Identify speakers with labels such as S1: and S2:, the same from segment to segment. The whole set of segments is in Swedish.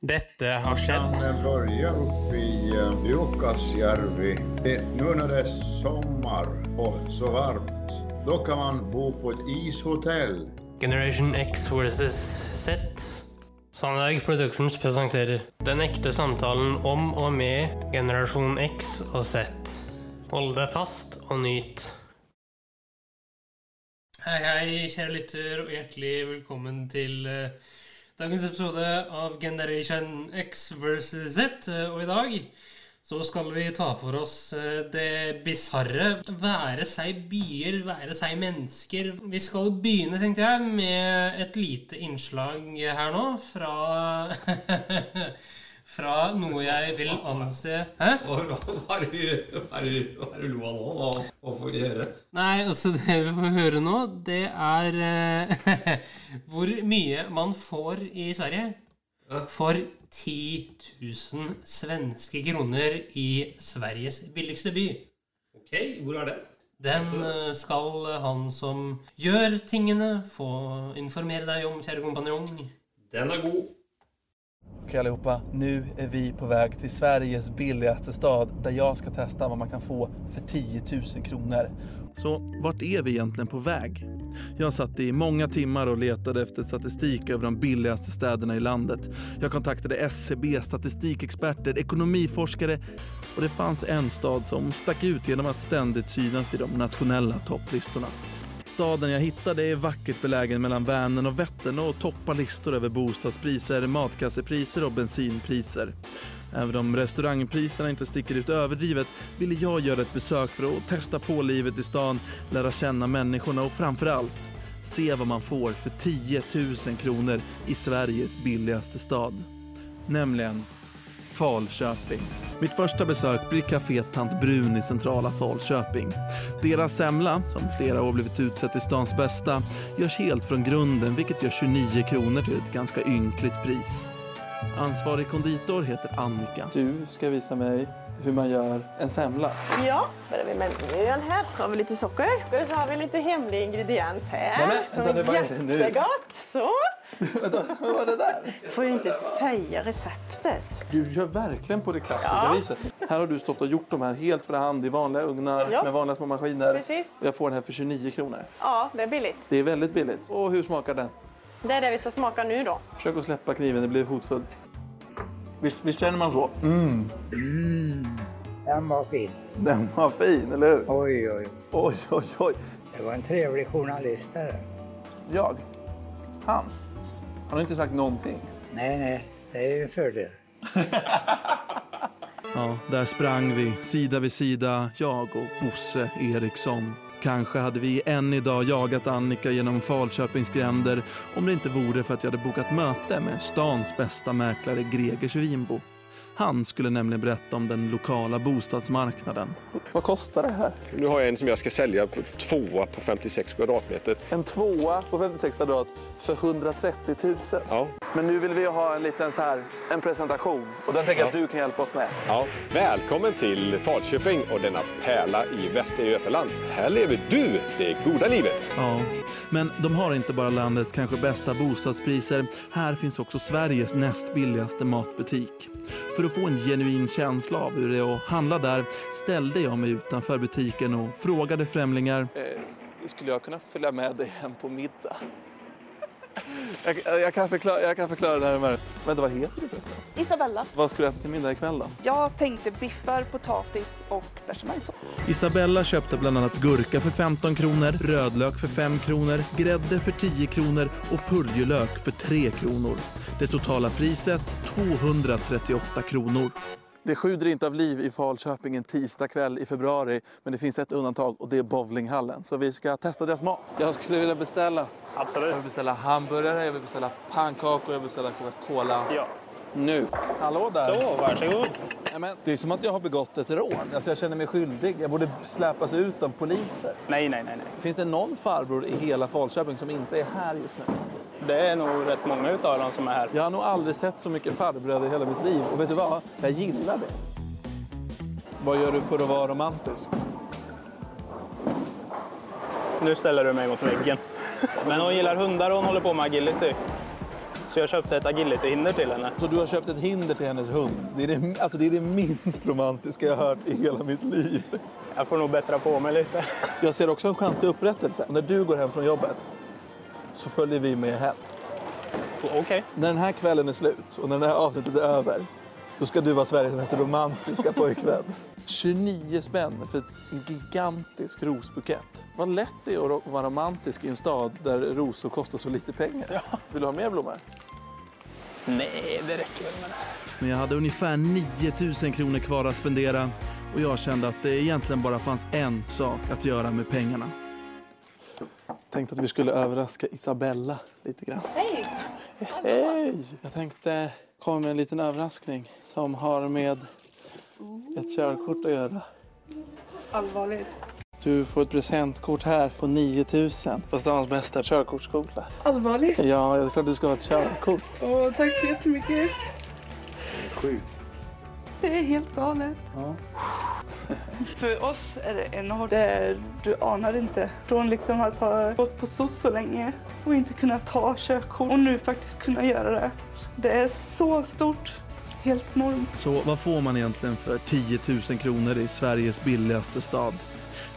S1: Detta har
S2: Man
S1: skett.
S2: kan börja uppe i eh, Jukkasjärvi. Det- Nu när det är sommar och så varmt, då kan man bo på ett ishotell.
S1: Generation X vs Z. Sandberg Productions presenterer Den ekte samtalen om og med generasjon X og Z. Hold deg fast og nyt. Hei, hei, kjære lytter, og hjertelig velkommen til eh, dagens episode av Generation X vs. Z. Eh, Og i dag så skal vi ta for oss eh, det bisarre. Være seg byer, være seg mennesker. Vi skal begynne, tenkte jeg, med et lite innslag her nå fra Fra noe jeg vil anse Hæ?
S3: Hva er det du lo av nå? Hva, hva får vi høre?
S1: Nei, altså det vi får høre nå, det er eh, hvor mye man får i Sverige for 10 000 svenske kroner i Sveriges billigste by.
S3: Ok, hvor er det?
S1: Den eh, skal han som gjør tingene, få informere deg om, kjære kompanjong.
S3: Den er god.
S4: Okej allihopa, nu är vi på väg till Sveriges billigaste stad där jag ska testa vad man kan få för 10 000 kronor. Så vart är vi egentligen på väg? Jag satt i många timmar och letade efter statistik över de billigaste städerna i landet. Jag kontaktade SCB, statistikexperter, ekonomiforskare och det fanns en stad som stack ut genom att ständigt synas i de nationella topplistorna. Staden jag hittade är vackert belägen mellan Vänern och Vättern och toppar listor över bostadspriser, matkassepriser och bensinpriser. Även om restaurangpriserna inte sticker ut överdrivet ville jag göra ett besök för att testa på livet i stan, lära känna människorna och framför allt se vad man får för 10 000 kronor i Sveriges billigaste stad. Nämligen Falköping. Mitt första besök blir Café Tant Brun i centrala Falköping. Deras semla, som flera år blivit utsett till stans bästa, görs helt från grunden vilket gör 29 kronor till ett ganska ynkligt pris. Ansvarig konditor heter Annika. Du ska visa mig hur man gör en semla.
S5: Ja, börjar vi med mjöl här. Har vi lite socker. Och så har vi lite hemlig ingrediens här.
S4: Nej, men,
S5: som
S4: vänta, det var
S5: är
S4: inte nu.
S5: jättegott. Så.
S4: Vad var det där?
S5: Får ju inte säga receptet.
S4: Du gör verkligen på det klassiska viset. Här har du stått och gjort de här helt för hand i vanliga ugnar
S5: Ja.
S4: med vanliga små maskiner.
S5: Precis.
S4: Och jag får den här för 29 kronor.
S5: Ja, det är billigt.
S4: Det är väldigt billigt. Och hur smakar den?
S5: Det är det vi ska smaka nu då.
S4: Försök att släppa kniven, det blir hotfullt. Visst, visst känner man så? Mm.
S6: Den var fin.
S4: Den var fin, eller hur?
S6: Oj, oj.
S4: Oj, oj, oj.
S6: Det var en trevlig journalist där.
S4: Jag? Han? Han har inte sagt någonting.
S6: Nej, nej. Det är ju en fördel.
S4: Ja, där sprang vi sida vid sida, jag och Bosse Eriksson. Kanske hade vi än idag jagat Annika genom Falköpings gränder om det inte vore för att jag hade bokat möte med stans bästa mäklare Greger Svinbo. Han skulle nämligen berätta om den lokala bostadsmarknaden. Vad kostar det här?
S7: Nu har jag en som jag ska sälja på tvåa på 56 kvadratmeter.
S4: En tvåa på 56 kvadrat för 130 000.
S7: Ja,
S4: Men nu vill vi ha en liten så här, en presentation och den tänker jag att du kan hjälpa oss med.
S7: ja. Välkommen till Falköping och denna pärla i Västra Götaland. Här lever du det goda livet.
S4: Ja, men de har inte bara landets kanske bästa bostadspriser. Här finns också Sveriges näst billigaste matbutik. För att få en genuin känsla av hur det är att handla där ställde jag mig utanför butiken och frågade främlingar. Eh, skulle jag kunna följa med dig hem på middag? Jag, kan, förklara, jag kan förklara det här närmare. Vänta, vad heter du förresten?
S8: Isabella,
S4: Vad ska du äta till middag ikväll då?
S8: jag tänkte biffar, potatis och bechamelsås.
S4: Isabella köpte bland annat gurka för 15 kronor, rödlök för 5 kronor, grädde för 10 kronor och purjolök för 3 kronor. Det totala priset 238 kronor. Det sjuder inte av liv i Falköping en tisdag kväll i februari, men det finns ett undantag och det är bowlinghallen. Så vi ska testa deras mat. Jag skulle vilja beställa. Absolut. Jag vill beställa hamburgare, jag vill beställa pannkakor, jag vill beställa Coca-Cola. Ja. Nu. Hallå där. Nej, men det är som att jag har begått ett rån. Alltså, jag känner mig skyldig. Jag borde släpas ut av poliser.
S9: Nej, nej, nej. nej.
S4: Finns det någon farbror i hela Falköping som inte är här just nu?
S9: Det är nog rätt många utav dem som är här.
S4: Jag har nog aldrig sett så mycket farbröder i hela mitt liv. Och vet du vad? Jag gillar det. Vad gör du för att vara romantisk?
S9: Nu ställer du mig mot väggen. Men hon gillar hundar och hon håller på med agility. Så så jag köpte ett agility-hinder till henne.
S4: Så du har köpt ett hinder till hennes hund. Det är det, alltså det, är det minst romantiska jag har hört i hela mitt liv.
S9: Jag får nog bättra på mig lite.
S4: Jag ser också en chans till upprättelse. När du går hem från jobbet så följer vi med hem.
S9: Okej.
S4: När den här kvällen är slut och när det här avsnittet är över då ska du vara Sveriges mest romantiska pojkvän. 29 spänn för en gigantisk rosbukett. Vad lätt det är att ro- vara romantisk i en stad där rosor kostar så lite pengar. Vill du ha mer blommor?
S9: Nej, det räcker väl med det.
S4: Men jag hade ungefär 9000 kronor kvar att spendera och jag kände att det egentligen bara fanns en sak att göra med pengarna. Tänkte att vi skulle överraska Isabella lite grann. Hej! Hej! Jag tänkte komma med en liten överraskning som har med ett körkort att göra.
S8: Allvarligt.
S4: Du får ett presentkort här på 9000 på stans bästa körkortsskola.
S8: Allvarligt.
S4: Ja, det är klart du ska ha ett körkort.
S8: Åh, tack så jättemycket.
S4: Sjukt.
S8: Det är helt galet.
S4: Ja.
S8: För oss är det enormt. Det är, du anar inte. Från liksom att ha gått på SOS så länge och inte kunna ta körkort och nu faktiskt kunna göra det. Det är så stort. Helt enormt.
S4: Så vad får man egentligen för 10 000 kronor i Sveriges billigaste stad?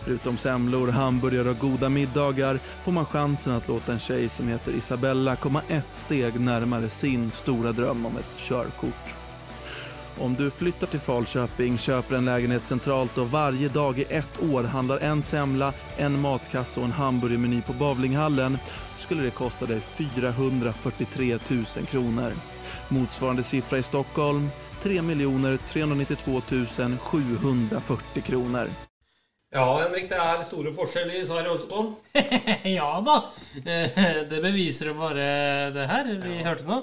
S4: Förutom semlor, hamburgare och goda middagar får man chansen att låta en tjej som heter Isabella komma ett steg närmare sin stora dröm om ett körkort. Om du flyttar till Falköping, köper en lägenhet centralt och varje dag i ett år handlar en semla, en matkasse och en hamburgermeny på Bavlinghallen skulle det kosta dig 443 000 kronor. Motsvarande siffra i Stockholm 3 392 740 kronor.
S3: Ja, Henrik, det er store forskjeller i Sverige også.
S1: ja da. Eh, Det beviser jo bare det her vi hørte nå.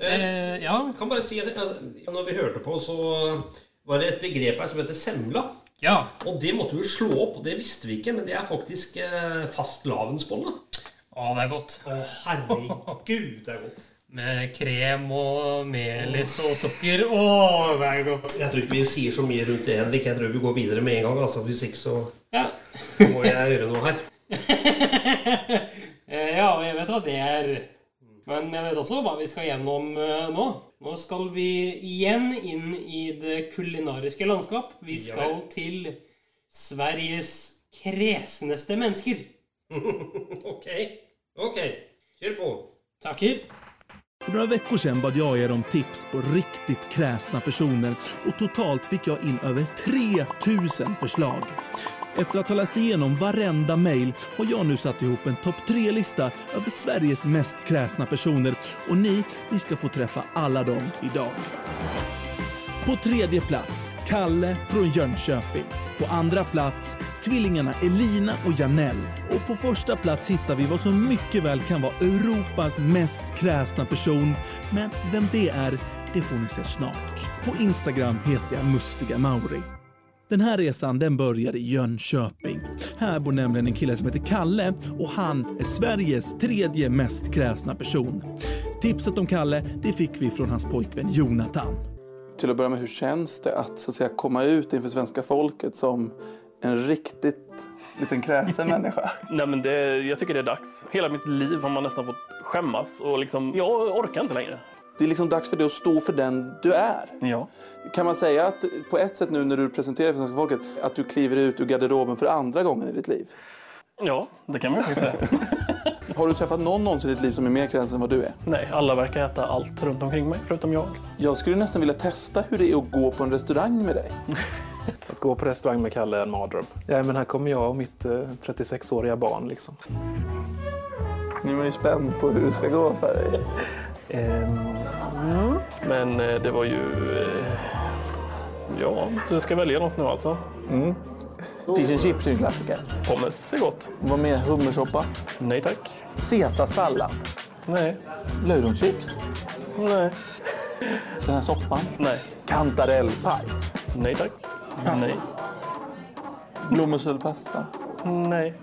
S1: Eh, Ja.
S3: Jeg kan bare si at altså, Når Alltså, vi hørte på, så var det et begrep her som heter semla.
S1: Ja.
S3: Og det måtte vi jo slå opp, og det visste vi ikke, men det er faktisk eh, fastelavnsbolle.
S1: Å, det er godt.
S3: Å, herregud, det er godt.
S1: Med krem og melis og sukker. Å, det er godt.
S3: Jeg tror ikke vi sier så mye rundt det, Henrik. Jeg tror vi går videre med en gang. altså Hvis ikke, så
S1: Ja.
S3: må jeg gjøre noe her.
S1: Eh, ja, og jeg vet hva det er. Men jeg vet også hva vi skal gjennom eh, nå. Nå skal vi igjen inn i det kulinariske landskap. Vi skal til Sveriges kresneste mennesker.
S3: Ok. Ok. Kjør på.
S1: Takker.
S4: För några veckor sedan bad jag er om tips på riktigt kräsna personer och totalt fick jag in över 3000 förslag. Efter att ha läst igenom varenda mejl har jag nu satt ihop en topp 3-lista över Sveriges mest kräsna personer och ni, ni ska få träffa alla dem idag. På tredje plats, Kalle från Jönköping. På andra plats, tvillingarna Elina och Janell. Och på första plats hittar vi vad som mycket väl kan vara Europas mest kräsna person. Men vem det är, det får ni se snart. På Instagram heter jag Mustiga Mauri. Den här resan den börjar i Jönköping. Här bor nämligen en kille som heter Kalle och han är Sveriges tredje mest kräsna person. Tipset om Kalle det fick vi från hans pojkvän Jonathan. Till att börja med, hur känns det att, så att säga, komma ut inför svenska folket som en riktigt liten kräsen människa?
S10: Nej, men det, jag tycker det är dags. Hela mitt liv har man nästan fått skämmas och liksom, jag orkar inte längre.
S4: Det är liksom dags för dig att stå för den du är.
S10: Ja.
S4: Kan man säga att på ett sätt nu när du presenterar för svenska folket att du kliver ut ur garderoben för andra gången i ditt liv?
S10: Ja, det kan man ju faktiskt säga.
S4: Har du träffat någon någonsin i ditt liv som är mer kräsen än vad du är?
S10: Nej, alla verkar äta allt runt omkring mig, förutom jag.
S4: Jag skulle nästan vilja testa hur det är att gå på en restaurang med dig.
S11: Så att gå på restaurang med Kalle är en mardröm. Ja, men här kommer jag och mitt eh, 36-åriga barn. Liksom.
S4: Nu är man ju spänd på hur det ska gå för dig.
S10: Men eh, det var ju... eh, Ja, så jag ska välja något nu alltså.
S4: Mm. Fish and chips är ju en klassiker.
S10: Pommes är gott.
S4: Vad mer? Hummersoppa?
S10: Nej tack.
S4: Caesarsallad?
S10: Nej.
S4: Löjromschips?
S10: Nej.
S4: Den här soppan?
S10: Nej.
S4: Kantarellpaj?
S10: Nej tack.
S4: Pass.
S10: Nej.
S4: Blommusselpasta?
S10: Nej.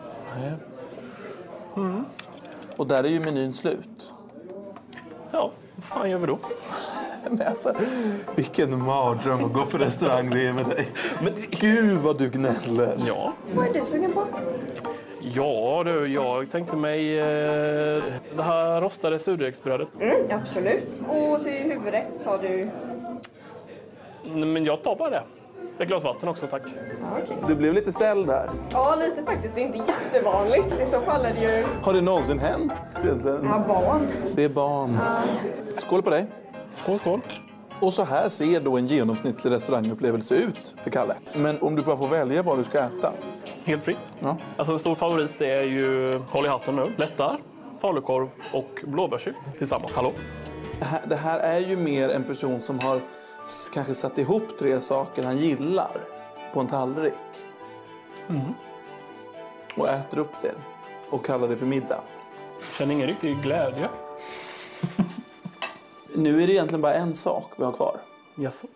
S4: Och där är ju menyn slut.
S10: Ja, vad fan gör vi då?
S4: Men alltså, vilken mardröm att gå på restaurang det är med dig.
S10: Men,
S4: Gud vad du gnäller.
S10: ja.
S5: Vad är du sugen på?
S10: Ja, du, jag tänkte mig eh, det här rostade surdegsbrödet.
S12: Mm, absolut. Och till huvudrätt tar du...
S10: Nej, Men jag tar bara det. Ett glas vatten också, tack.
S4: Du blev lite ställd där.
S12: Ja, lite faktiskt. Det är inte jättevanligt. I så fall är det ju...
S4: Har det någonsin hänt egentligen?
S12: Ja, barn.
S4: Det är barn. Skål på dig.
S10: Skål, skål.
S4: Och så här ser då en genomsnittlig restaurangupplevelse ut för Kalle. Men om du bara får välja vad du ska äta.
S10: Helt fritt. Ja. Alltså en stor favorit är ju, håll i hatten nu, lättar, falukorv och blåbärssylt tillsammans. Hallå?
S4: Det här, det här är ju mer en person som har s- kanske satt ihop tre saker han gillar på en tallrik
S10: Mm.
S4: och äter upp det och kallar det för middag.
S10: Känner ingen riktig glädje.
S4: Nu är det egentligen bara en sak vi har kvar.
S10: Jaså?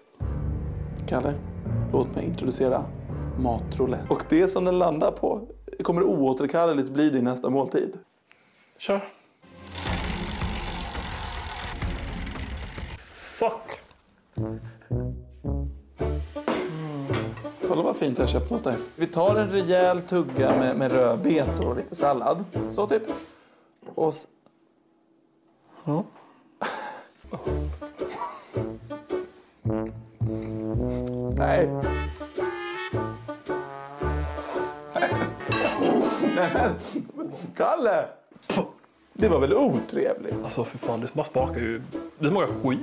S4: Kalle, låt mig introducera matroulette. Och det som den landar på kommer oåterkalleligt bli din nästa måltid.
S10: Kör. Fuck!
S4: Kolla vad fint jag har köpt åt dig. Vi tar en rejäl tugga med, med rödbetor och lite sallad. Så typ. Och... s- Nej. Nej men, Kalle! Det var väl otrevligt?
S10: Alltså för fan, det smakar ju... Det smakar skit.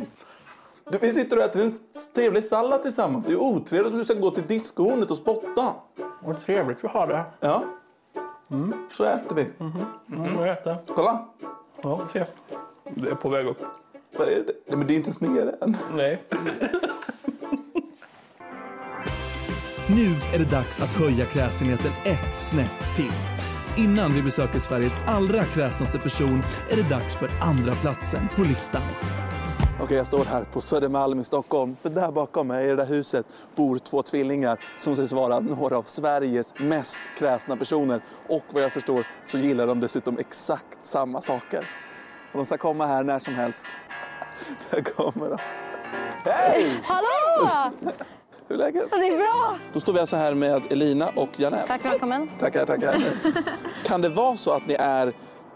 S4: Du, vi sitter och äter en s- trevlig sallad tillsammans. Det är ju otrevligt om du ska gå till diskohornet och spotta.
S10: Vad trevligt vi har det.
S4: Ja. Så äter vi.
S10: Mm, jag äter.
S4: Kolla!
S10: Ja, se. Det är på väg upp.
S4: Vad är det? Nej, men det är inte ens nere än.
S10: Nej.
S4: Nu är det dags att höja kräsenheten ett snäpp till. Innan vi besöker Sveriges allra kräsnaste person är det dags för andra platsen på listan. Okej, jag står här på Södermalm i Stockholm. För där bakom mig i det där huset bor två tvillingar som sägs vara några av Sveriges mest kräsna personer. Och vad jag förstår så gillar de dessutom exakt samma saker. Och de ska komma här när som helst. Där kommer de. Hej!
S13: Hallå!
S4: Hur är läget?
S13: Det är bra!
S4: Då står vi alltså här med Elina och Janelle.
S13: Tack välkommen.
S4: Tackar, tackar. kan det vara så att ni är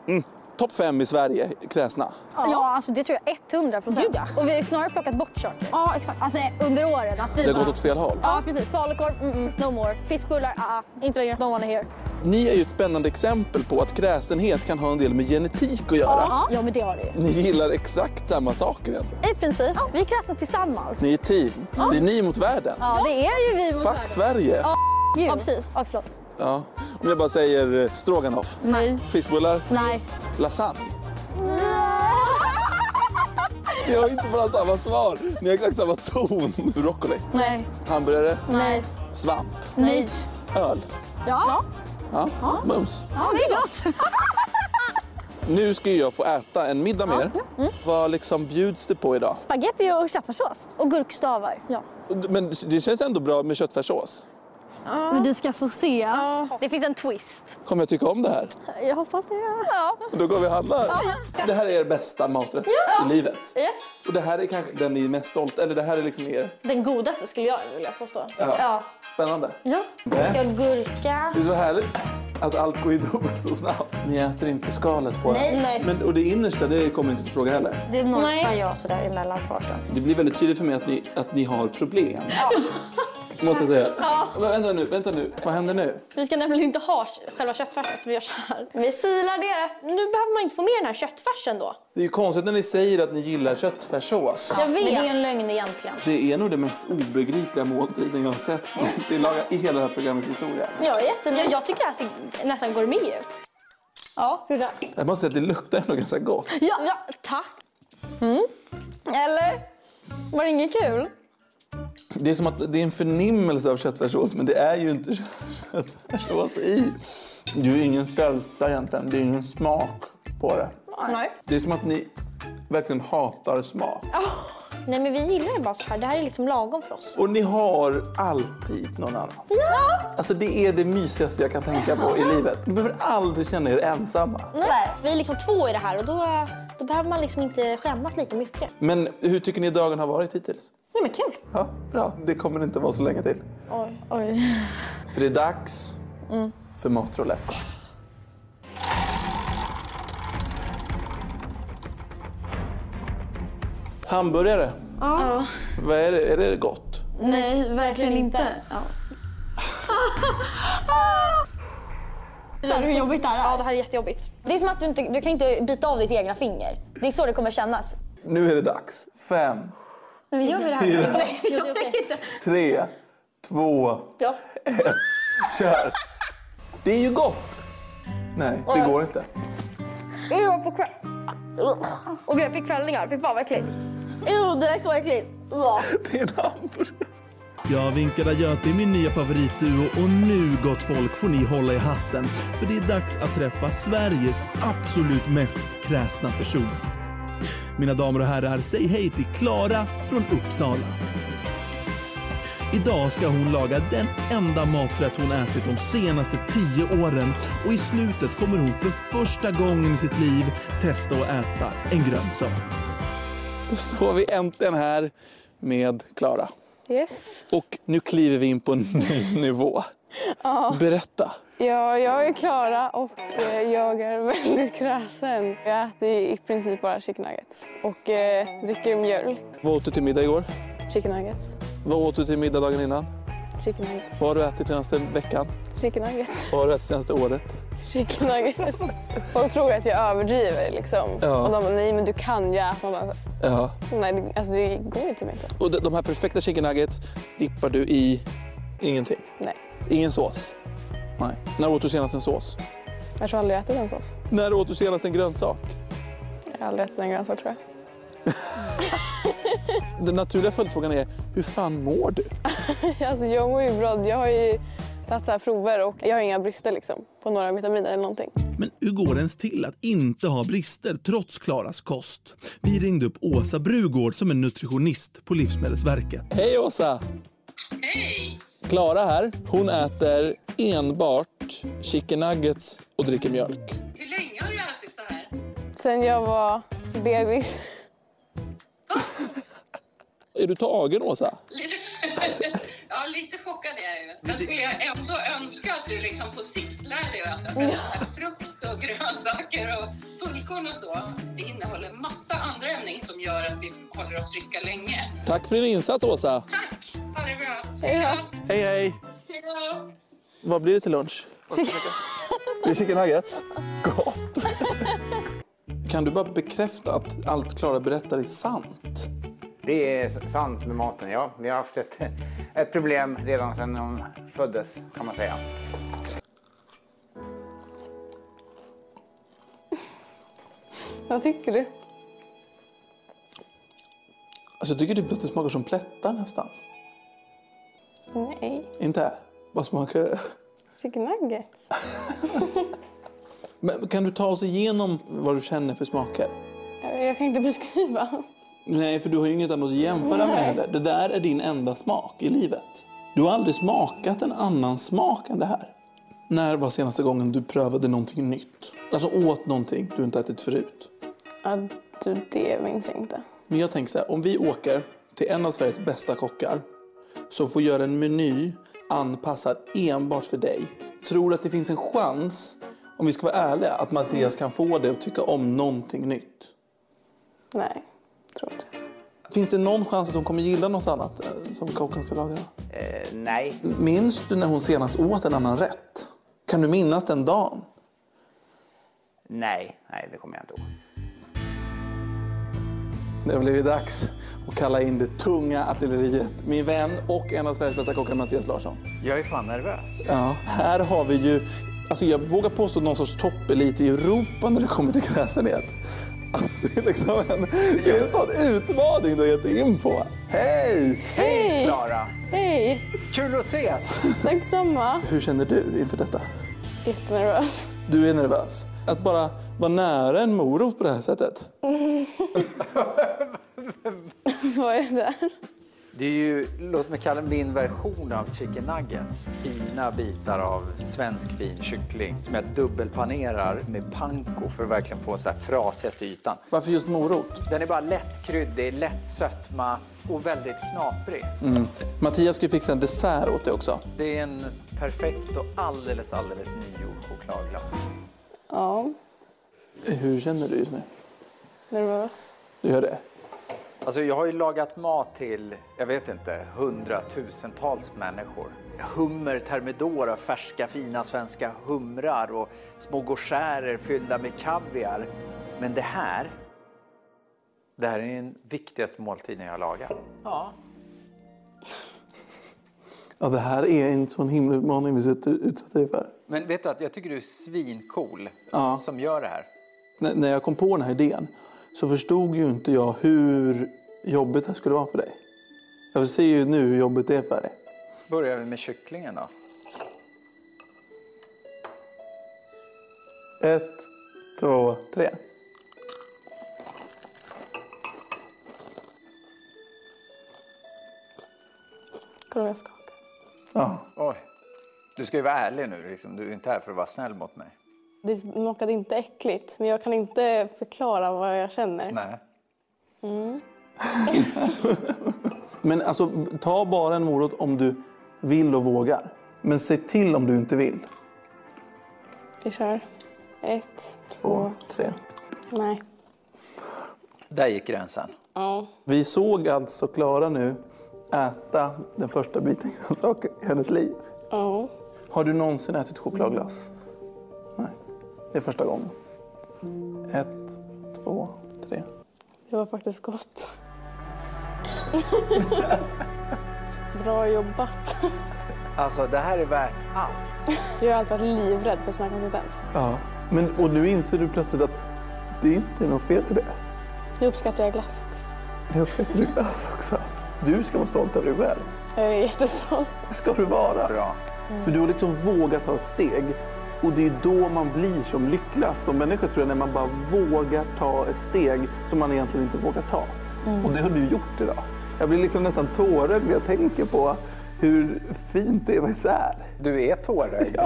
S4: mm, topp fem i Sverige kräsna?
S13: Ja, alltså det tror jag 100 procent. Och vi har ju snarare plockat bort saker. Ja, exakt. Alltså under åren. Att vi
S4: Det har
S13: bara-
S4: gått åt fel håll.
S13: Ja, precis. Falukorv, mm, mm, no more. Fiskbullar, ah, ah, inte längre. No one here.
S4: Ni är ju ett spännande exempel på att kräsenhet kan ha en del med genetik att göra.
S13: Ja, ja, men det har det ju.
S4: Ni gillar exakt samma saker egentligen.
S13: I princip. Vi är krassa tillsammans.
S4: Ni är team.
S13: Ja.
S4: Det är ni mot världen.
S13: Ja, det är ju vi mot
S4: Fuck
S13: världen.
S4: Sverige.
S13: Ja, you. ja, precis. Ja, förlåt.
S4: Ja. Om jag bara säger eh, stroganoff,
S13: Nej.
S4: fiskbullar,
S13: Nej.
S4: lasagne. Ni har inte bara samma svar, ni har exakt samma ton. Broccoli,
S13: Nej.
S4: hamburgare,
S13: Nej.
S4: svamp,
S13: Nej.
S4: öl.
S13: Ja.
S4: Ja, mums.
S13: Ja, det är gott.
S4: Nu ska ju jag få äta en middag med er.
S13: Mm.
S4: Vad liksom bjuds det på idag?
S13: Spaghetti och köttfärssås. Och gurkstavar. Ja.
S4: Men det känns ändå bra med köttfärssås.
S13: Men du ska få se. Det finns en twist.
S4: Kommer jag tycka om det här?
S13: Jag hoppas det. Ja.
S4: Då går vi och handlar.
S13: Ja.
S4: Det här är er bästa maträtt
S13: Ja.
S4: i livet.
S13: Yes.
S4: Och det här är kanske den ni är mest stolt Eller det här är liksom er.
S13: Den godaste skulle jag vilja påstå.
S4: Ja.
S13: Ja.
S4: Spännande. Eh,
S13: ja. Vi ska ha gurka.
S4: Det är så härligt att allt går i dubbelt så snabbt. Ni äter inte skalet på
S13: Nej,
S4: er.
S13: nej.
S4: Men, och det innersta, det kommer inte på fråga heller.
S13: Det norpar jag sådär emellan farten.
S4: Det blir väldigt tydligt för mig att ni, att ni har problem. Måste jag säga.
S13: Ja.
S4: Men vänta nu, vänta nu. Vad händer nu?
S13: Vi ska nämligen inte ha själva köttfärsen så vi gör så här. Vi silar det. Nu behöver man inte få med den här köttfärsen då.
S4: Det är ju konstigt när ni säger att ni gillar köttfärssås.
S13: Jag vet. Men det är en lögn egentligen.
S4: Det är nog den mest obegripliga måltiden jag har sett tillaga i hela det här programmets historia.
S13: Jag är jättenöjd. Jag, jag tycker det här ser nästan gourmet ut. Ja, ska vi köra?
S4: Jag måste säga att det luktar ändå ganska gott.
S13: Ja, ja tack. Mm. Eller? Var det inget kul?
S4: Det är som att det är en förnimmelse av köttfärssås men det är ju inte köttfärssås i. Det är ju ingen sälta egentligen. Det är ingen smak på det.
S13: Nej.
S4: Det är som att ni verkligen hatar smak.
S13: Nej, men vi gillar det bara så här. Det här är liksom lagom för oss.
S4: Och ni har alltid någon annan.
S13: Ja!
S4: Alltså det är det mysigaste jag kan tänka på i livet. Ni behöver aldrig känna er ensamma.
S13: Nej. Vi är liksom två i det här och då, då behöver man liksom inte skämmas lika mycket.
S4: Men hur tycker ni dagen har varit hittills?
S13: Nej, men kul.
S4: Ja, bra. Det kommer inte vara så länge till.
S13: Oj, oj.
S4: För det är dags
S13: Mm.
S4: för matroulette. Hamburgare,
S13: Ja.
S4: vad är det? Är det gott?
S13: Nej, verkligen inte. Ja.
S14: Hade du jobbigt där?
S13: Ja, det här är jättejobbigt. Det är som att du inte du kan inte bita av ditt egna finger. Det är så det kommer kännas.
S4: Nu är det dags. Fem,
S13: Men vi gör vi det
S4: här? Fyra.
S13: Nej, vi gör det inte.
S4: tre, två,
S13: Ja.
S4: ett. Kör! Det är ju gott! Nej, det går inte.
S13: Ur på kväll. Och jag fick kvällningar. Fy fan vad äckligt. Ur, det där är så äckligt.
S4: Jag vinkar adjö till min nya favoritduo och nu gott folk får ni hålla i hatten för det är dags att träffa Sveriges absolut mest kräsna person. Mina damer och herrar, säg hej till Klara från Uppsala. Idag ska hon laga den enda maträtt hon ätit de senaste tio åren och i slutet kommer hon för första gången i sitt liv testa att äta en grönsak. Då står vi äntligen här med Klara.
S15: Yes.
S4: Och nu kliver vi in på en ny nivå.
S15: Ja.
S4: Berätta.
S15: ja, jag är Klara och eh, jag är väldigt kräsen. Jag äter i princip bara chicken nuggets och eh, dricker mjölk.
S4: Vad åt du till middag igår?
S15: Chicken nuggets.
S4: Vad åt du till middag dagen innan?
S15: Chicken nuggets.
S4: Vad har du ätit senaste veckan?
S15: Chicken nuggets.
S4: Vad har du ätit senaste året?
S15: Chicken nuggets. Folk tror att jag överdriver liksom.
S4: Ja.
S15: Och de bara, nej men du kan ju äta. Och bara,
S4: Ja.
S15: nej, det, alltså, det går inte med det.
S4: Och de, de här perfekta chicken nuggets dippar du i ingenting?
S15: Nej.
S4: Ingen sås? Nej. När åt du senast en sås?
S15: Jag tror aldrig jag ätit en sås.
S4: När åt du senast en grönsak?
S15: Jag har aldrig ätit en grönsak tror jag.
S4: Den naturliga följdfrågan är, hur fan mår du?
S15: alltså jag mår ju bra. Jag har ju tagit så här prover och jag har inga brister liksom på några vitaminer eller någonting.
S4: Men hur går det ens till att inte ha brister trots Klaras kost? Vi ringde upp Åsa Brugård som är nutritionist på Livsmedelsverket. Hej Åsa! Hej! Klara här. Hon äter enbart chicken nuggets och dricker mjölk.
S15: Hur länge har du ätit så här? Sen jag var bebis.
S4: Är du tagen Åsa?
S16: ja, lite chockad är jag ju. Men skulle jag ändå önska att du liksom på sikt lär dig att äta för att frukt och grönsaker och fullkorn och så. Det innehåller massa andra ämnen som gör att vi håller oss friska länge.
S4: Tack för din insats Åsa!
S16: Tack! Ha det bra!
S4: Hej hej!
S16: Hej då!
S4: Vad blir det till lunch?
S16: Chicken-
S4: Det är chicken nuggets? Gott! Kan du bara bekräfta att allt Klara berättar är sant?
S6: Det är s- sant med maten, ja. Vi har haft ett, ett problem redan sedan hon föddes, kan man säga.
S15: Vad tycker du?
S4: Alltså jag tycker typ att det smakar som plättar nästan.
S15: Nej,
S4: Inte? Vad smakar det?
S15: chicken nuggets.
S4: Men kan du ta oss igenom vad du känner för smaker?
S15: Jag jag kan inte beskriva.
S4: Nej, för du har ju inget annat att jämföra med
S15: Nej.
S4: heller. Det där är din enda smak i livet. Du har aldrig smakat en annan smak än det här. När var senaste gången du prövade någonting nytt? Alltså åt någonting du inte ätit förut.
S15: Ja, du, det minns jag inte.
S4: Men jag tänker så här, om vi åker till en av Sveriges bästa kockar som får göra en meny anpassad enbart för dig. Tror du att det finns en chans, om vi ska vara ärliga, att Mattias kan få dig att tycka om någonting nytt?
S15: Nej.
S4: Finns det någon chans att hon kommer gilla något annat eh, som kocken ska laga?
S6: Eh, nej.
S4: Minns du när hon senast åt en annan rätt? Kan du minnas den dagen?
S6: Nej, nej, det kommer jag inte ihåg.
S4: Det har blivit dags att kalla in det tunga artilleriet. Min vän och en av Sveriges bästa kockar, Mattias Larsson.
S6: Jag är fan nervös.
S4: Ja, här har vi ju, alltså jag vågar påstå någon sorts toppelit i Europa när det kommer till kräsenhet. Alltså, Det är liksom en, det är en sån utmaning du har gett dig in på. Hej!
S15: Hej! Hej!
S6: Kul att ses!
S15: Tack detsamma.
S4: Hur känner du inför detta?
S15: Jättenervös.
S4: Du är nervös. Att bara vara nära en morot på det här sättet.
S15: Mm. Vad är det?
S6: Det är ju, låt mig kalla det min version av chicken nuggets. Fina bitar av svensk fin kyckling som jag dubbelpanerar med panko för att verkligen få så här frasigaste ytan.
S4: Varför just morot?
S6: Den är bara lätt kryddig, lätt sötma och väldigt knaprig.
S4: Mm. Mattias ska ju fixa en dessert åt dig också.
S6: Det är en perfekt och alldeles, alldeles nygjord chokladglass.
S15: Ja,
S4: Hur känner du just nu?
S15: nervös.
S4: Du gör det?
S6: Alltså jag har ju lagat mat till, jag vet inte, hundratusentals människor. Hummer, termidor av färska fina svenska humrar och små gougérer fyllda med kaviar. Men det här, det här är den viktigaste måltiden jag har lagat.
S5: Ja.
S4: Ja, det här är en sån himla utmaning vi sitter- utsätter dig för.
S6: Men vet du att jag tycker du är svincool
S4: Ja.
S6: som gör det här.
S4: N- när jag kom på den här idén så förstod ju inte jag hur jobbigt det här skulle vara för dig. Jag ser ju nu hur jobbigt det är för dig.
S6: Börjar vi med kycklingen då?
S4: Ett, två, tre.
S15: Kolla vad jag skakar.
S4: Ja.
S6: Oj. Du ska ju vara ärlig nu, liksom. du är inte här för att vara snäll mot mig.
S15: Det smakade inte äckligt, men jag kan inte förklara vad jag känner.
S6: Nej.
S15: Mm.
S4: Men alltså, ta bara en morot om du vill och vågar. Men säg till om du inte vill.
S15: Vi kör. Ett,
S4: Två, tre.
S15: nej.
S6: Där gick gränsen.
S15: Ja.
S4: Vi såg alltså Klara nu äta den första biten grönsaker i hennes liv.
S15: Ja.
S4: Har du någonsin ätit chokladglass? Nej, det är första gången. Ett, två, tre.
S15: Det var faktiskt gott. Bra jobbat.
S6: Alltså det här är värt allt.
S15: Jag har alltid varit livrädd för sån här konsistens.
S4: Ja. Men, och nu inser du plötsligt att det inte är något fel i det.
S15: Nu uppskattar jag glass också.
S4: Det uppskattar du glass också. Du ska vara stolt över dig själv.
S15: Jag är jättestolt.
S4: Det ska du vara.
S6: Bra.
S15: Mm.
S4: För du har liksom vågat ta ett steg. Och det är då man blir som lyckligast som människa tror jag, när man bara vågar ta ett steg som man egentligen inte vågar ta.
S15: Mm.
S4: Och det har du gjort idag. Jag blir liksom nästan tårögd när jag tänker på hur fint det är med isär.
S6: Du är tårögd.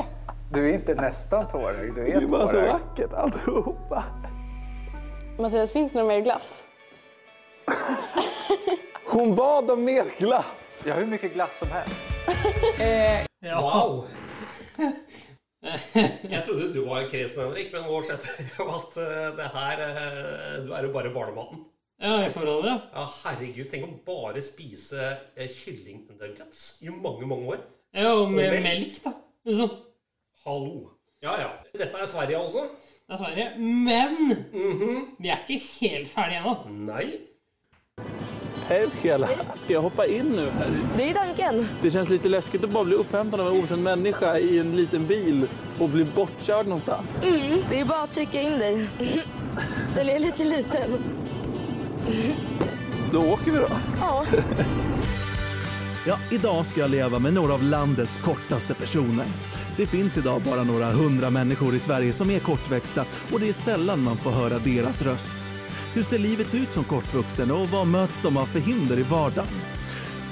S6: Du är inte nästan tårögd, du är
S4: Det är bara så
S6: tårögd.
S4: vackert alltihopa.
S15: Mattias, finns det någon mer glass?
S4: Hon bad om mer glass.
S6: Jag har hur mycket glass som helst.
S3: Wow! Jeg trodde du var kresen, Henrik, men nå skjønte jeg jo at eh, det her eh, Du er jo bare barnematen.
S1: Ja, i forhold, ja.
S3: Ja, herregud, tenk å bare spise eh, kyllingnuggets i mange, mange år.
S1: Ja, og med Alltså, melk,
S3: da. Hallo. Ja, ja. Dette er Sverige også.
S1: Det er Sverige. Men vi er ikke helt ferdige ennå.
S3: Nei.
S4: Hej Pela, ska jag hoppa in nu? Här?
S14: Det är tanken.
S15: Mm.
S4: Det känns lite läskigt att bara bli upphämtad av en okänd människa i en liten bil och bli bortkörd någonstans.
S14: Mm, det är bara att trycka in dig. Den är lite liten.
S4: Då åker vi då.
S14: Ja.
S4: Ja, idag ska jag leva med några av landets kortaste personer. Det finns idag bara några hundra människor i Sverige som är kortväxta och det är sällan man får höra deras röst. Hur ser livet ut som kortvuxen och vad möts de av för hinder i vardagen?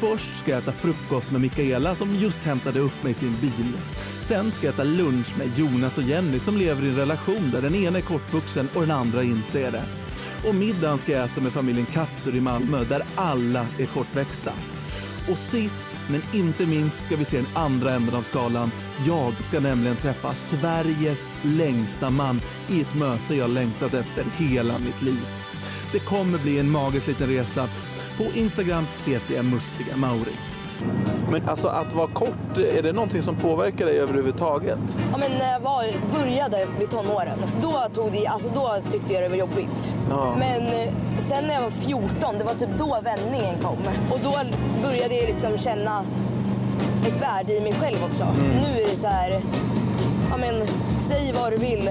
S4: Först ska jag äta frukost med Mikaela som just hämtade upp mig i sin bil. Sen ska jag äta lunch med Jonas och Jenny som lever i en relation där den ena är kortvuxen och den andra inte är det. Och middagen ska jag äta med familjen Kaptur i Malmö där alla är kortväxta. Och sist men inte minst ska vi se den andra änden av skalan. Jag ska nämligen träffa Sveriges längsta man i ett möte jag längtat efter hela mitt liv. Det kommer bli en magisk liten resa. På Instagram heter jag Mustiga Mauri. Men alltså att vara kort, är det någonting som påverkar dig överhuvudtaget?
S14: Ja, men när jag var, började vid tonåren, då, tog det, alltså, då tyckte jag det var jobbigt.
S4: Ja.
S14: Men eh, sen när jag var 14, det var typ då vändningen kom. Och då började jag liksom känna ett värde i mig själv också. Nu är det så här, ja men säg vad du vill.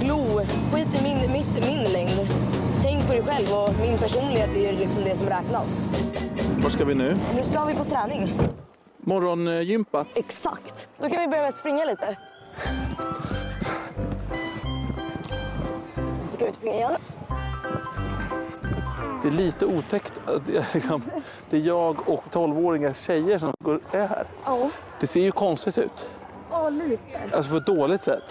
S14: Glo, skit i min, mitt, min längd. Tänk på dig själv och min personlighet är ju liksom det som räknas.
S4: Var ska vi nu?
S14: Nu ska vi på träning.
S4: Morgongympa.
S14: Exakt. Då kan vi börja med att springa lite. Då kan vi springa igen.
S4: Det är lite otäckt att det är, liksom, det är jag och 12-åringar tjejer som går, är här.
S14: Ja.
S4: Det ser ju konstigt ut.
S14: Ja, lite.
S4: Alltså på ett dåligt sätt.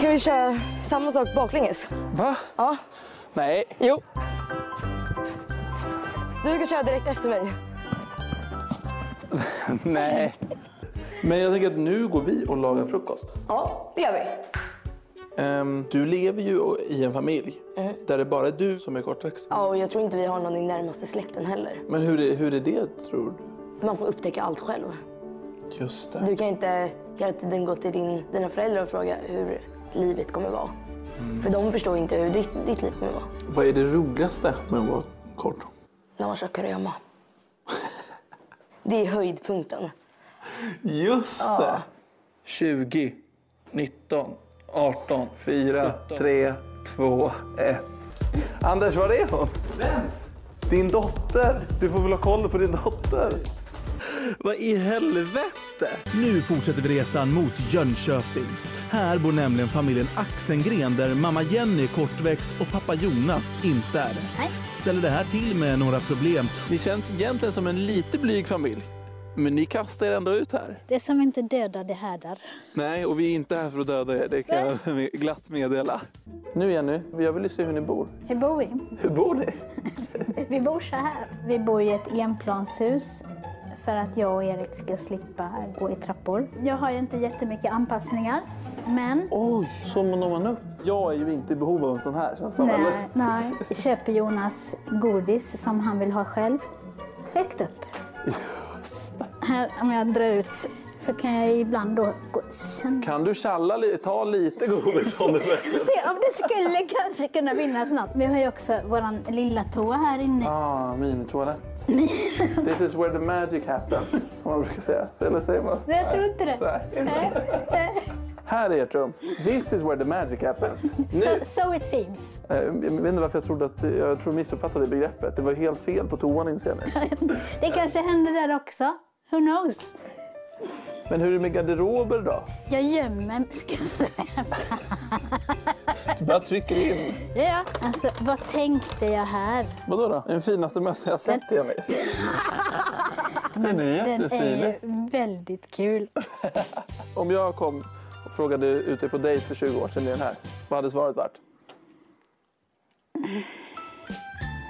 S14: Kan vi köra samma sak baklänges?
S4: Va?
S14: Ja.
S4: Nej.
S14: Jo. Du ska köra direkt efter mig.
S4: Nej. Men jag tänker att nu går vi och lagar frukost.
S14: Ja, det gör vi.
S4: Ehm, du lever ju i en familj
S14: Mm.
S4: där det bara är du som är kortväxt.
S14: Ja, och jag tror inte vi har någon i närmaste släkten heller.
S4: Men hur är, hur är det tror du?
S14: Man får upptäcka allt själv.
S4: Just det.
S14: Du kan inte hela tiden gå till din, dina föräldrar och fråga hur livet kommer vara.
S4: Mm.
S14: För de förstår inte hur ditt, ditt liv kommer vara.
S4: Vad är det roligaste med att vara kort?
S14: När man kör kurragömma. Det är höjdpunkten.
S4: Just
S14: Ja.
S4: det! 20, 19, 18, 4, 3, 2, 1. Anders, var är hon? Vem? Din dotter. Du får väl ha koll på din dotter. Vad i helvete?
S17: Nu fortsätter vi resan mot Jönköping. Här bor nämligen familjen Axengren där mamma Jenny är kortväxt och pappa Jonas inte är det. Ställer det här till med några problem.
S4: Ni känns egentligen som en lite blyg familj. Men ni kastar er ändå ut här.
S18: Det som inte dödar, det härdar.
S4: Nej, och vi är inte här för att döda er. Det kan jag glatt meddela. Nu Jenny, jag vill ju se hur ni bor.
S18: Hur bor vi?
S4: Hur bor ni?
S18: Vi bor så här. Vi bor i ett enplanshus för att jag och Erik ska slippa gå i trappor. Jag har ju inte jättemycket anpassningar, men...
S4: Oj, så når man upp? Jag är ju inte i behov av en sån här känns det som,
S18: Nej,
S4: eller?
S18: eh, nej. Köper Jonas godis som han vill ha själv, högt upp. Här, om jag drar ut så kan jag ibland då gå, känna
S4: Kan du tjalla li- ta lite godis om du vill?
S18: Se om det skulle kanske kunna vinnas något. Vi har ju också vår lilla toa här inne.
S4: Ah, minitoalett. This is where the magic happens, som man brukar säga. Eller säger man?
S18: Nej, jag tror inte det.
S4: Nej.
S18: Nej.
S4: Här är ert rum. This is where the magic happens.
S18: So, so it seems.
S4: Eh, Jag vet inte varför jag trodde att jag tror jag missuppfattade begreppet. Det var helt fel på toan inser jag nu.
S18: Det kanske händer där också. Who knows?
S4: Men hur är det med garderober då?
S18: Jag gömmer mig.
S4: Du bara trycker in.
S18: Ja, ja. Alltså, vad tänkte jag här?
S4: Vadå då? Den finaste mössan jag har sett Jenny. Den är
S18: Den är
S4: jättestilig.
S18: ju väldigt kul.
S4: Om jag kom och frågade ut dig på dejt för 20 år sedan i den här, vad hade svaret varit?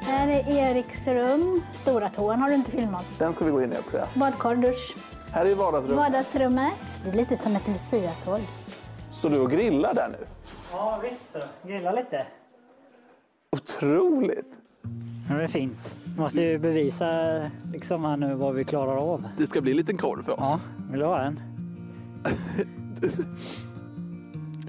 S18: Här är Eriks rum. Stora toan har du inte filmat.
S4: Den ska vi gå in i också. Ja.
S18: Badkar, dusch.
S4: Här är ju vardagsrummet.
S18: Vardagsrummet. Det är lite som ett luciatåg.
S4: Står du och grillar där nu?
S19: Ja, visst så. Grilla lite.
S4: Otroligt!
S19: Ja, det är fint. Måste ju bevisa liksom här nu vad vi klarar av.
S4: Det ska bli en liten korv för oss.
S19: Ja, vill du ha en?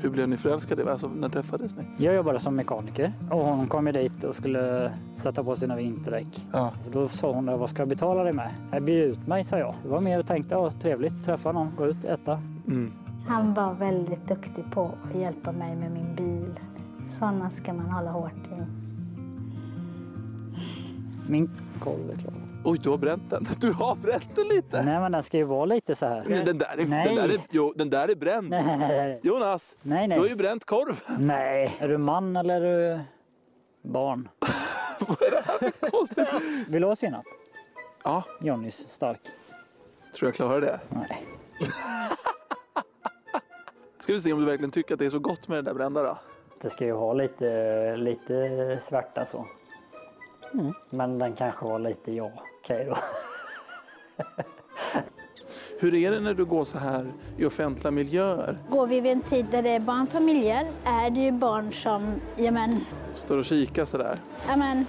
S4: Hur blev ni förälskade? Alltså, när träffades ni?
S19: Jag jobbade som mekaniker och hon kom ju dit och skulle sätta på sina vinterdäck.
S4: Ja.
S19: Och Då sa hon vad ska jag betala dig med? Jag bjöd ut mig, sa jag. Det var mer och tänkte, ja, trevligt, träffa någon, gå ut, äta.
S18: Han var väldigt duktig på att hjälpa mig med min bil. Sådana ska man hålla hårt i.
S19: Min korv är klar.
S4: Oj, du har bränt den. Du har bränt den lite!
S19: Nej, men den ska ju vara lite så här.
S4: Nej, Den där är,
S19: Nej.
S4: den där är, jo, den där är bränd.
S19: Nej.
S4: Jonas,
S19: Nej, nej.
S4: du har ju bränt korv.
S19: Nej, är du man eller är du barn? Vill du ha senap?
S4: Ja.
S19: Johnnys stark.
S4: Tror jag klarar det?
S19: Nej.
S4: Ska vi se om du verkligen tycker att det är så gott med det där brända då?
S19: Det ska ju ha lite, lite svärta så. Men den kanske var lite ja. Okej då.
S4: Hur är det när du går så här i offentliga miljöer?
S18: Går vi vid en tid där det är barnfamiljer är det ju barn som ja men,
S4: Står och kikar så där?
S18: ja men,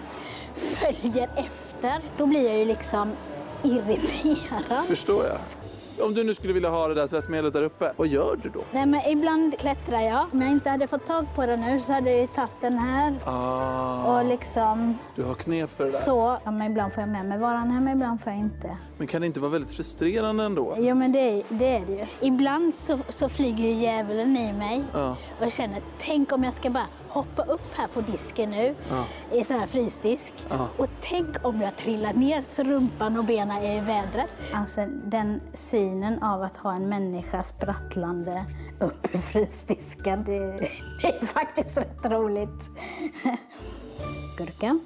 S18: följer efter. Då blir jag ju liksom irriterad.
S4: Förstår jag. Om du nu skulle vilja ha det där tvättmedlet där uppe, vad gör du då?
S18: Nej, men ibland klättrar jag. Om jag inte hade fått tag på den nu så hade jag ju tagit den här.
S4: Ah,
S18: Och liksom
S4: du har knep för det där.
S18: så. Ja, men ibland får jag med mig varan hem, ibland får jag inte.
S4: Men kan det inte vara väldigt frustrerande ändå?
S18: Jo, men det, är- det är det ju. Ibland så, så flyger ju djävulen i mig
S4: Ja.
S18: och jag känner tänk om jag ska bara hoppa upp här på disken nu
S4: Ja.
S18: i sån här frysdisk
S4: Ja.
S18: och tänk om jag trillar ner så rumpan och benen är i vädret. Alltså den synen av att ha en människa sprattlande upp i frysdisken, det, det är faktiskt rätt roligt. Gurka.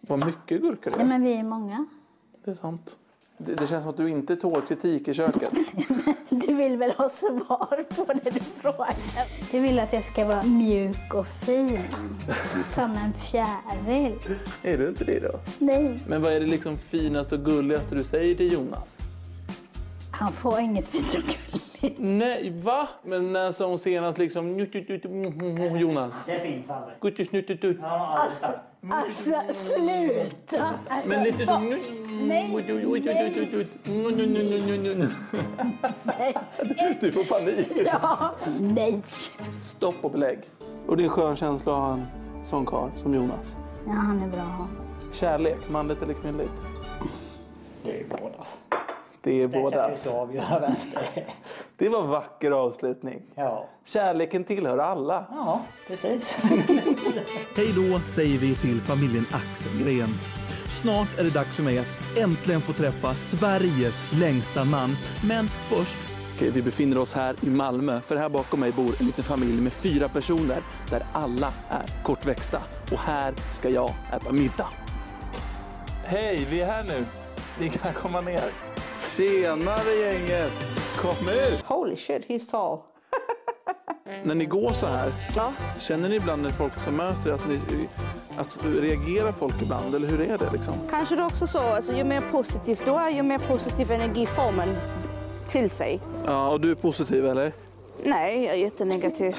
S4: Vad mycket gurka det
S18: Ja,
S4: är.
S18: men vi är många.
S4: Det är sant. Det, det känns som att du inte tål kritik i köket.
S18: Du vill väl ha svar på det du frågar? Du vill att jag ska vara mjuk och fin, som en fjäril.
S4: är du inte det då?
S18: Nej,
S4: Men vad är det liksom finaste och gulligaste du säger till Jonas?
S18: han får inget fint och gulligt.
S4: Nej, va? Men när sa hon senast liksom... njut, njut, njut, mm, mm, mm, Jonas?
S19: Det finns aldrig.
S4: Guttisnuttutut.
S19: Alltså,
S18: Alltså, sluta! Alltså,
S4: Men lite så...
S18: vad-
S4: nu-
S18: Nej,
S4: Oj, oj, oj, oj, oj, oj. Nu, nu, nu, nu, nu, nu, nu. Du får panik.
S18: Ja, nej.
S4: Stopp och belägg. Och det är en skön känsla att ha en sån karl som Jonas.
S18: Ja, han är bra att ha.
S4: Kärlek, manligt eller kvinnligt?
S19: Det är bådas.
S4: Det är
S19: Det kan
S4: båda.
S19: vi inte avgöra vem det är.
S4: Det var en vacker avslutning.
S19: Ja.
S4: Kärleken tillhör alla.
S19: Ja, precis.
S17: Hej då säger vi till familjen Axelgren. Snart är det dags för mig att äntligen få träffa Sveriges längsta man. Men först...
S4: Okej, vi befinner oss här i Malmö, för här bakom mig bor en liten familj med fyra personer där alla är kortväxta. Och här ska jag äta middag. Hej, vi är här nu. Ni kan komma ner. Tjenare gänget! Kom ut!
S20: Holy shit, he's tall.
S4: När ni går så här, känner ni ibland när folk som möter er att ni att reagerar folk ibland? Eller hur är det liksom?
S20: Kanske det är också så, alltså, ju mer positivt du är, ju mer positiv energi får man till sig.
S4: Ja, och du är positiv eller?
S20: Nej, jag är jättenegativ.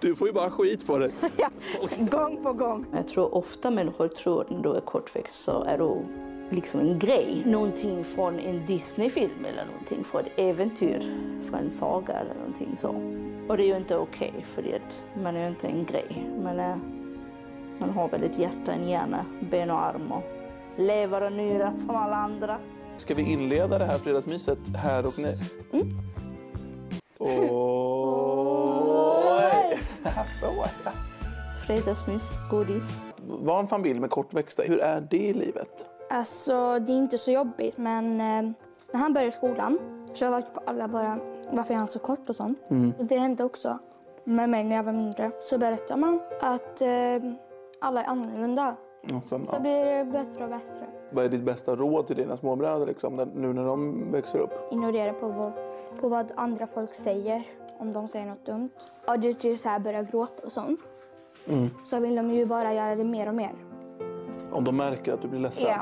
S4: Du får ju bara skit på dig.
S20: Ja, gång på gång.
S21: Jag tror ofta människor tror när du är kortväxt så är du liksom en grej. Någonting från en Disneyfilm eller någonting från ett äventyr, från en saga eller någonting så. Och det är ju inte okej för det att man är ju inte en grej. Man, är, man har väl ett hjärta, en hjärna, ben och armar. Lever och njurar som alla andra.
S4: Ska vi inleda det här fredagsmyset här och nu?
S20: Mm.
S4: Oj! Så ja.
S20: Fredagsmys, godis.
S4: Var en familj med kortväxta, hur är det i livet?
S22: Alltså, det är inte så jobbigt, men eh, när han började skolan så jag var på alla bara, varför är han så kort och sånt.
S4: Mm.
S22: Och det hände också med mig när jag var mindre. Så berättar man att eh, alla är annorlunda.
S4: Något som,
S22: Så
S4: ja.
S22: blir det bättre och bättre.
S4: Vad är ditt bästa råd till dina småbröder liksom, när- nu när de växer upp?
S22: Ignorera på vad, på vad andra folk säger, om de säger något dumt. Och det är så här, börja gråta och sånt. Så vill de ju bara göra det mer och mer.
S4: Om de märker att du blir ledsen?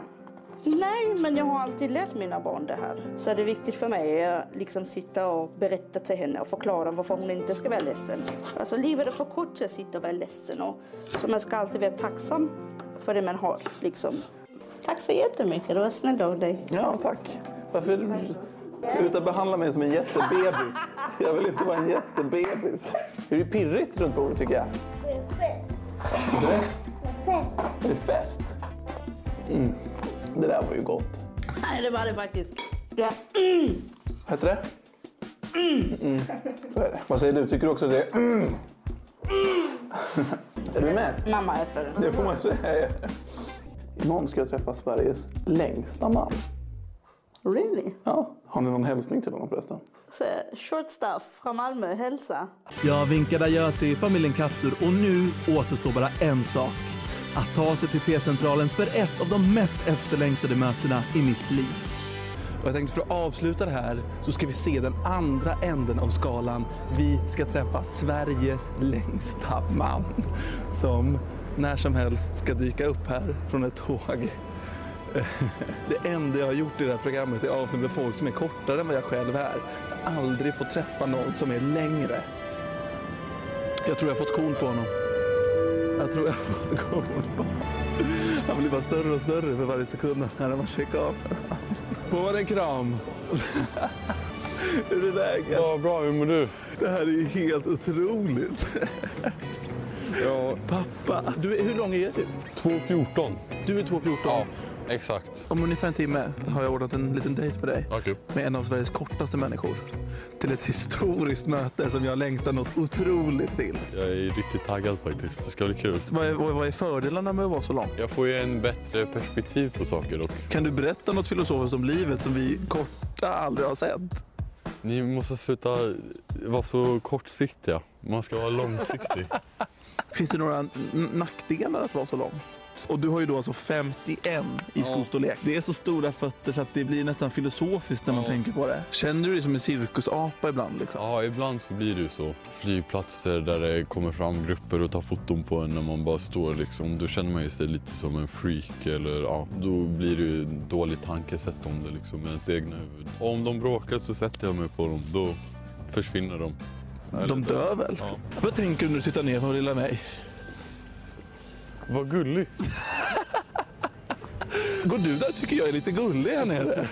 S21: Nej, men jag har alltid lärt mina barn det här. Så det är viktigt för mig att liksom sitta och berätta till henne och förklara varför hon inte ska vara ledsen. Alltså livet är för kort till att sitta och vara ledsen. Och, så man ska alltid vara tacksam för det man har. Liksom. Tack så jättemycket, det var snällt av dig.
S4: Ja, tack. Varför Sluta behandla mig som en jättebebis. Jag vill inte vara en jättebebis. Det är pirrigt runt bordet tycker jag.
S23: Fest.
S4: Är det?
S23: Fest.
S4: Är det fest? Mm. Det där var ju gott.
S21: Nej, det var det faktiskt. Ja. Mm.
S4: Vad heter det?
S21: Mm.
S4: Mm. Så är det. Vad säger du? Tycker du också det? Mm. är du med?
S21: Mamma äter
S4: Det får man säga. Imorgon ska jag träffa Sveriges längsta man.
S21: Really?
S4: Ja. Har ni någon hälsning till honom förresten?
S21: Så, short stuff från Malmö, hälsa.
S17: Jag vinkar adjö till familjen Kaptur och nu återstår bara en sak. Att ta sig till T-centralen för ett av de mest efterlängtade mötena i mitt liv.
S4: Och jag tänkte för att avsluta det här så ska vi se den andra änden av skalan. Vi ska träffa Sveriges längsta man som när som helst ska dyka upp här från ett tåg. Det enda jag har gjort i det här programmet är avsnitt med folk som är kortare än vad jag själv är. Jag har aldrig fått träffa någon som är längre. Jag tror jag har fått korn på honom. Jag tror jag har fått korn på honom. Han blir bara större och större för varje sekund han närmar sig kameran. Får en kram. Hur är läget? Ja, bra. Hur mår du? Det här är ju helt otroligt. ja. Pappa, du, är- hur lång är du? 2,14. Du är 2,14? Ja, exakt. Om ungefär en timme har jag ordnat en liten dejt med dig. Med en av Sveriges kortaste människor. Till ett historiskt möte som jag längtar något otroligt till.
S24: Jag är riktigt taggad faktiskt. Det ska bli kul.
S4: Vad är, vad är fördelarna med att vara så lång?
S24: Jag får ju en bättre perspektiv på saker och
S4: Kan du berätta något filosofiskt om livet som vi korta aldrig har sett?
S24: ni måste sluta vara så kortsiktiga. Man ska vara långsiktig.
S4: Finns det några n- nackdelar att vara så lång? Och du har ju då alltså 51 i
S17: Ja.
S4: skostorlek. Det är så stora fötter så att det blir nästan filosofiskt när man tänker på det. Känner du dig som en cirkusapa ibland? Liksom?
S24: Ja, ibland så blir det ju så. Flygplatser där det kommer fram grupper och tar foton på en när man bara står liksom. Då känner man ju sig lite som en freak eller ja, då blir det ju en dålig tankesätt om det liksom i ens egna huvud. Och om de bråkar så sätter jag mig på dem, då försvinner de.
S4: De dör väl?
S24: Ja.
S4: Vad tänker du när du tittar ner på lilla mig?
S24: Vad gullig.
S4: Går du där tycker jag är lite gullig här nere.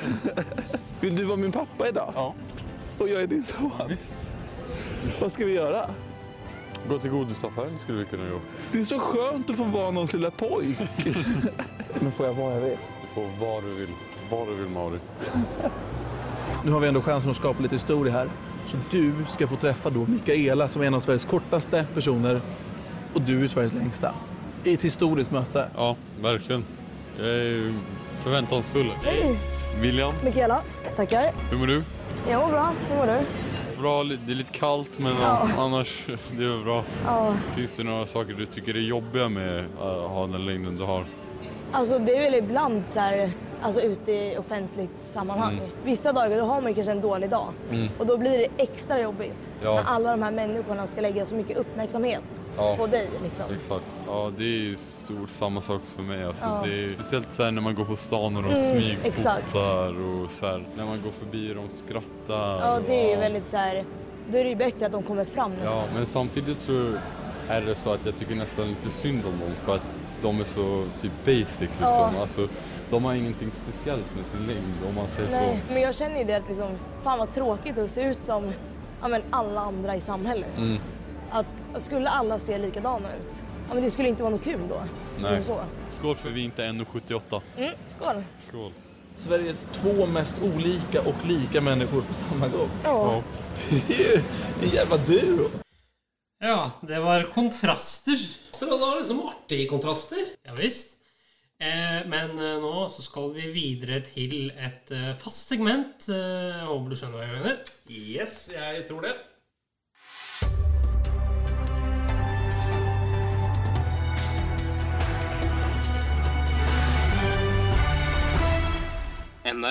S4: Vill du vara min pappa idag? Ja. Och jag är din son? Visst. Vad ska vi göra?
S24: Gå till godisaffären skulle vi kunna göra.
S4: Det är så skönt att få vara någons lilla pojk. Men får jag vara jag vill?
S24: Du får vad du vill. Vad du vill Mauri.
S4: Nu har vi ändå chansen att skapa lite historia här. Så du ska få träffa då Mikaela som är en av Sveriges kortaste personer och du är Sveriges längsta. I ett historiskt möte.
S24: Ja, verkligen. Jag är förväntansfull.
S13: Hej!
S24: William,
S13: Mikaela. Tackar.
S24: hur mår du?
S13: Jag mår bra. Hur mår du?
S24: Bra, li- det är lite kallt men
S13: Ja.
S24: ja, annars det är väl bra.
S13: Ja.
S24: Finns det några saker du tycker är jobbiga med att ha den längden du har?
S13: Alltså det är väl ibland så här, alltså ute i offentligt sammanhang.
S24: Mm.
S13: Vissa dagar då har man ju kanske en dålig dag.
S24: Mm.
S13: Och då blir det extra jobbigt
S24: Ja.
S13: när alla de här människorna ska lägga så mycket uppmärksamhet på dig. Liksom.
S24: Exakt. Ja, det är ju stort samma sak för mig. Alltså,
S13: Ja.
S24: det är, speciellt så här när man går på stan och de
S13: Mm, exakt.
S24: smygfotar och så här, när man går förbi och de skrattar.
S13: Ja,
S24: och-
S13: det är ju väldigt så här, då är det ju bättre att de kommer fram nästan.
S24: Ja, men samtidigt så är det så att jag tycker nästan lite synd om dem för att de är så typ basic liksom.
S13: Ja.
S24: Alltså, de har ingenting speciellt med sin längd om man säger
S13: Nej,
S24: så.
S13: men jag känner ju det att liksom, fan vad tråkigt att se ut som ja, men alla andra i samhället.
S24: Mm.
S13: Att skulle alla se likadana ut, ja, men det skulle inte vara något kul då.
S24: Nej.
S13: Typ Så.
S24: Skål för vi är inte 1,78.
S13: Mm, skål!
S24: Skål.
S4: Sveriges två mest olika och lika människor på samma gång.
S13: Ja.
S4: Det är ju en jävla duo.
S1: Ja, det var kontraster. Så det var liksom artige kontraster. Ja visst. Eh, men eh, nå så skal vi videre til et eh, fast segment. Eh, håper du skjønner hva jeg mener.
S3: Yes, jeg tror det.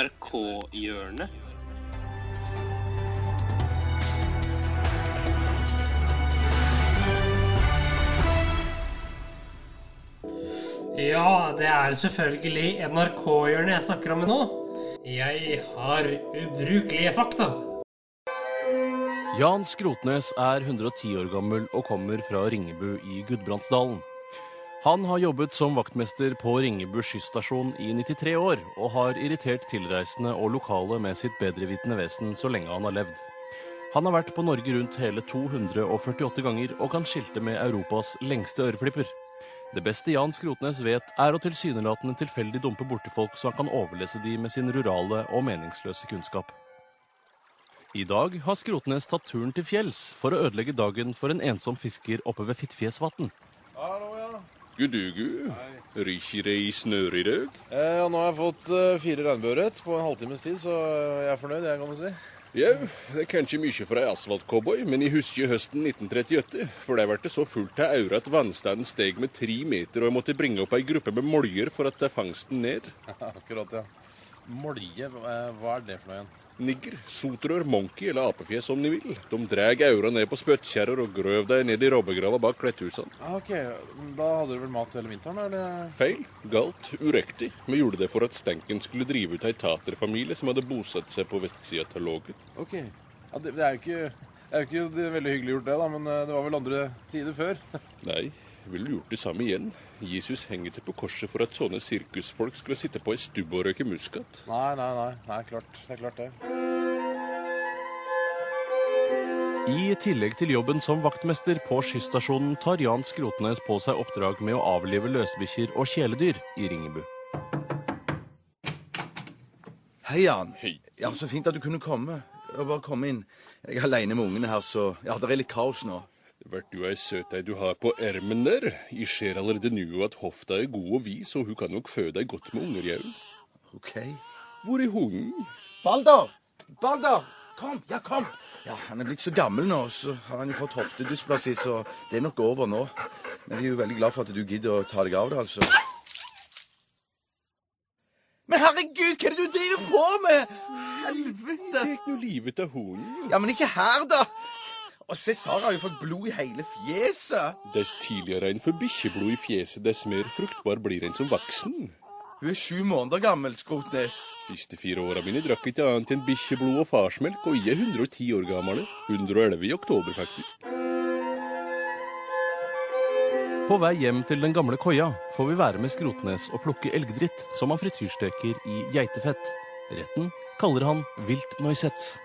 S1: NRK-hjørnet. Ja, det er selvfølgelig NRK-hjørnet jeg snakker om nå. Jeg har ubrukelige fakta.
S2: Jan Skrotnes er 110 år gammel og kommer fra Ringebu i Gudbrandsdalen. Han har jobbet som vaktmester på Ringebu skysstasjon i 93 år, og har irritert tilreisende og lokale med sitt bedrevitende vesen så lenge han har levd. Han har vært på Norge rundt hele 248 ganger, og kan skilte med Europas lengste øreflipper. Det beste Jan Skrotnes vet, er å tilsynelatende tilfeldig dumpe borti folk så han kan overlese de med sin rurale og meningsløse kunnskap. I dag har Skrotnes tatt turen til fjells for å ødelegge dagen for en ensom fisker oppe ved Fittfjesvatn.
S7: Hallo, ja.
S9: Gudugu, rykkire i snørøyrøg.
S7: Eh, ja, nå har jeg fått eh, fire regnbueørret på en halvtimes tid, så eh, jeg er fornøyd, jeg, kan du si.
S9: Jau, det er kanskje mye for ei asfaltcowboy, men jeg husker høsten 1938. For der ble det så fullt av aura at vannstanden steg med tre meter, og jeg måtte bringe opp ei gruppe med moljer for å ta fangsten ned.
S7: Akkurat, ja. Molje, eh, hva er det for noe igjen?
S9: Nigger, sotrør, monkey eller apefjes om de vil. De dreg aura ned på spyttkjerrer og grøv deg ned i robbegrava bak kletthusene.
S7: Ah, ok, da hadde du vel mat hele vinteren, da, eller?
S9: Feil, galt, uriktig. Vi gjorde det for at stenken skulle drive ut ei taterfamilie som hadde bosatt seg på vestsida av Lågen.
S7: Ok. Ja, det, det er jo ikke... Det er jo ikke det er veldig hyggelig gjort det, da, men eh, det var vel andre tider før.
S9: Nei, ville du gjort det samme igjen? Jesus henger ikke på korset for at sånne sirkusfolk skulle sitte på ei stubbe og røyke muskat.
S7: Nei, nei, nei. Nei, klart. Det er klart, det.
S2: I tillegg til jobben som vaktmester på skysstasjonen tar Jan Skrotnes på seg oppdrag med å avlive løsbikkjer og kjæledyr i Ringebu.
S23: Hei, Jan. Ja, Så fint at du kunne komme. Ja, Bare kom inn. Jeg er aleine med ungene her, så ja, det er litt kaos nå.
S9: Vert du ei søt ei du har på ermen der? Jeg ser allerede nu at hofta er god og vis, og hun kan nok føde deg godt med unger, jau.
S23: OK.
S9: Hvor er hunden?
S23: Balder! Balder! Kom! Ja, kom! Ja, Han er blitt så gammel nå, så har han jo fått hoftedysplasi, så det er nok over nå. Men vi er jo veldig glad for at du gidder å ta deg av det, altså.
S9: livet av hunden.
S23: Ja, men ikke her, da! Og se, Sara har jo fått blod i hele fjeset.
S9: Dess tidligere en får bikkjeblod i fjeset, dess mer fruktbar blir en som voksen.
S23: Hun er sju måneder gammel, Skrotnes.
S9: Siste fire åra mine drakk ikke annet enn bikkjeblod og farsmelk, og jeg er 110 år gammel. 111 i oktober, faktisk.
S2: På vei hjem til den gamle koia får vi være med Skrotnes og plukke elgdritt som han frityrsteker i geitefett. Retten kaller han vilt noisette.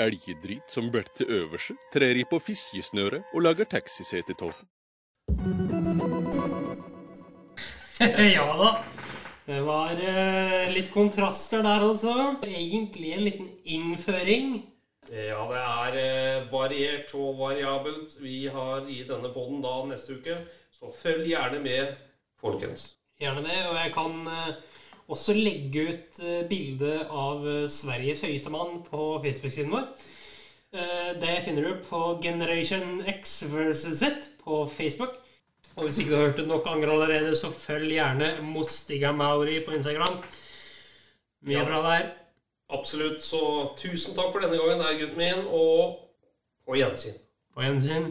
S9: Elgedrit som blir til øverse, trer i på fiskesnøret og lager taxisete av.
S1: Eh, ja da. Det var eh, litt kontraster der, altså. Egentlig en liten innføring.
S3: Ja, det er eh, variert og variabelt. Vi har i denne podden da neste uke, så følg gjerne med, folkens.
S1: Gjerne det. Og jeg kan eh, også legge ut eh, bilde av eh, Sveriges høyeste mann på Facebook-siden vår. Eh, det finner du på Generation X versus Z på Facebook. Og hvis ikke du har hørt det nok ganger allerede, så følg gjerne Mostiga Mauri på Instagram. Mye
S3: Ja.
S1: bra der.
S3: Absolutt. Så tusen takk for denne gangen, der, gutten min, og på gjensyn.
S1: På gjensyn.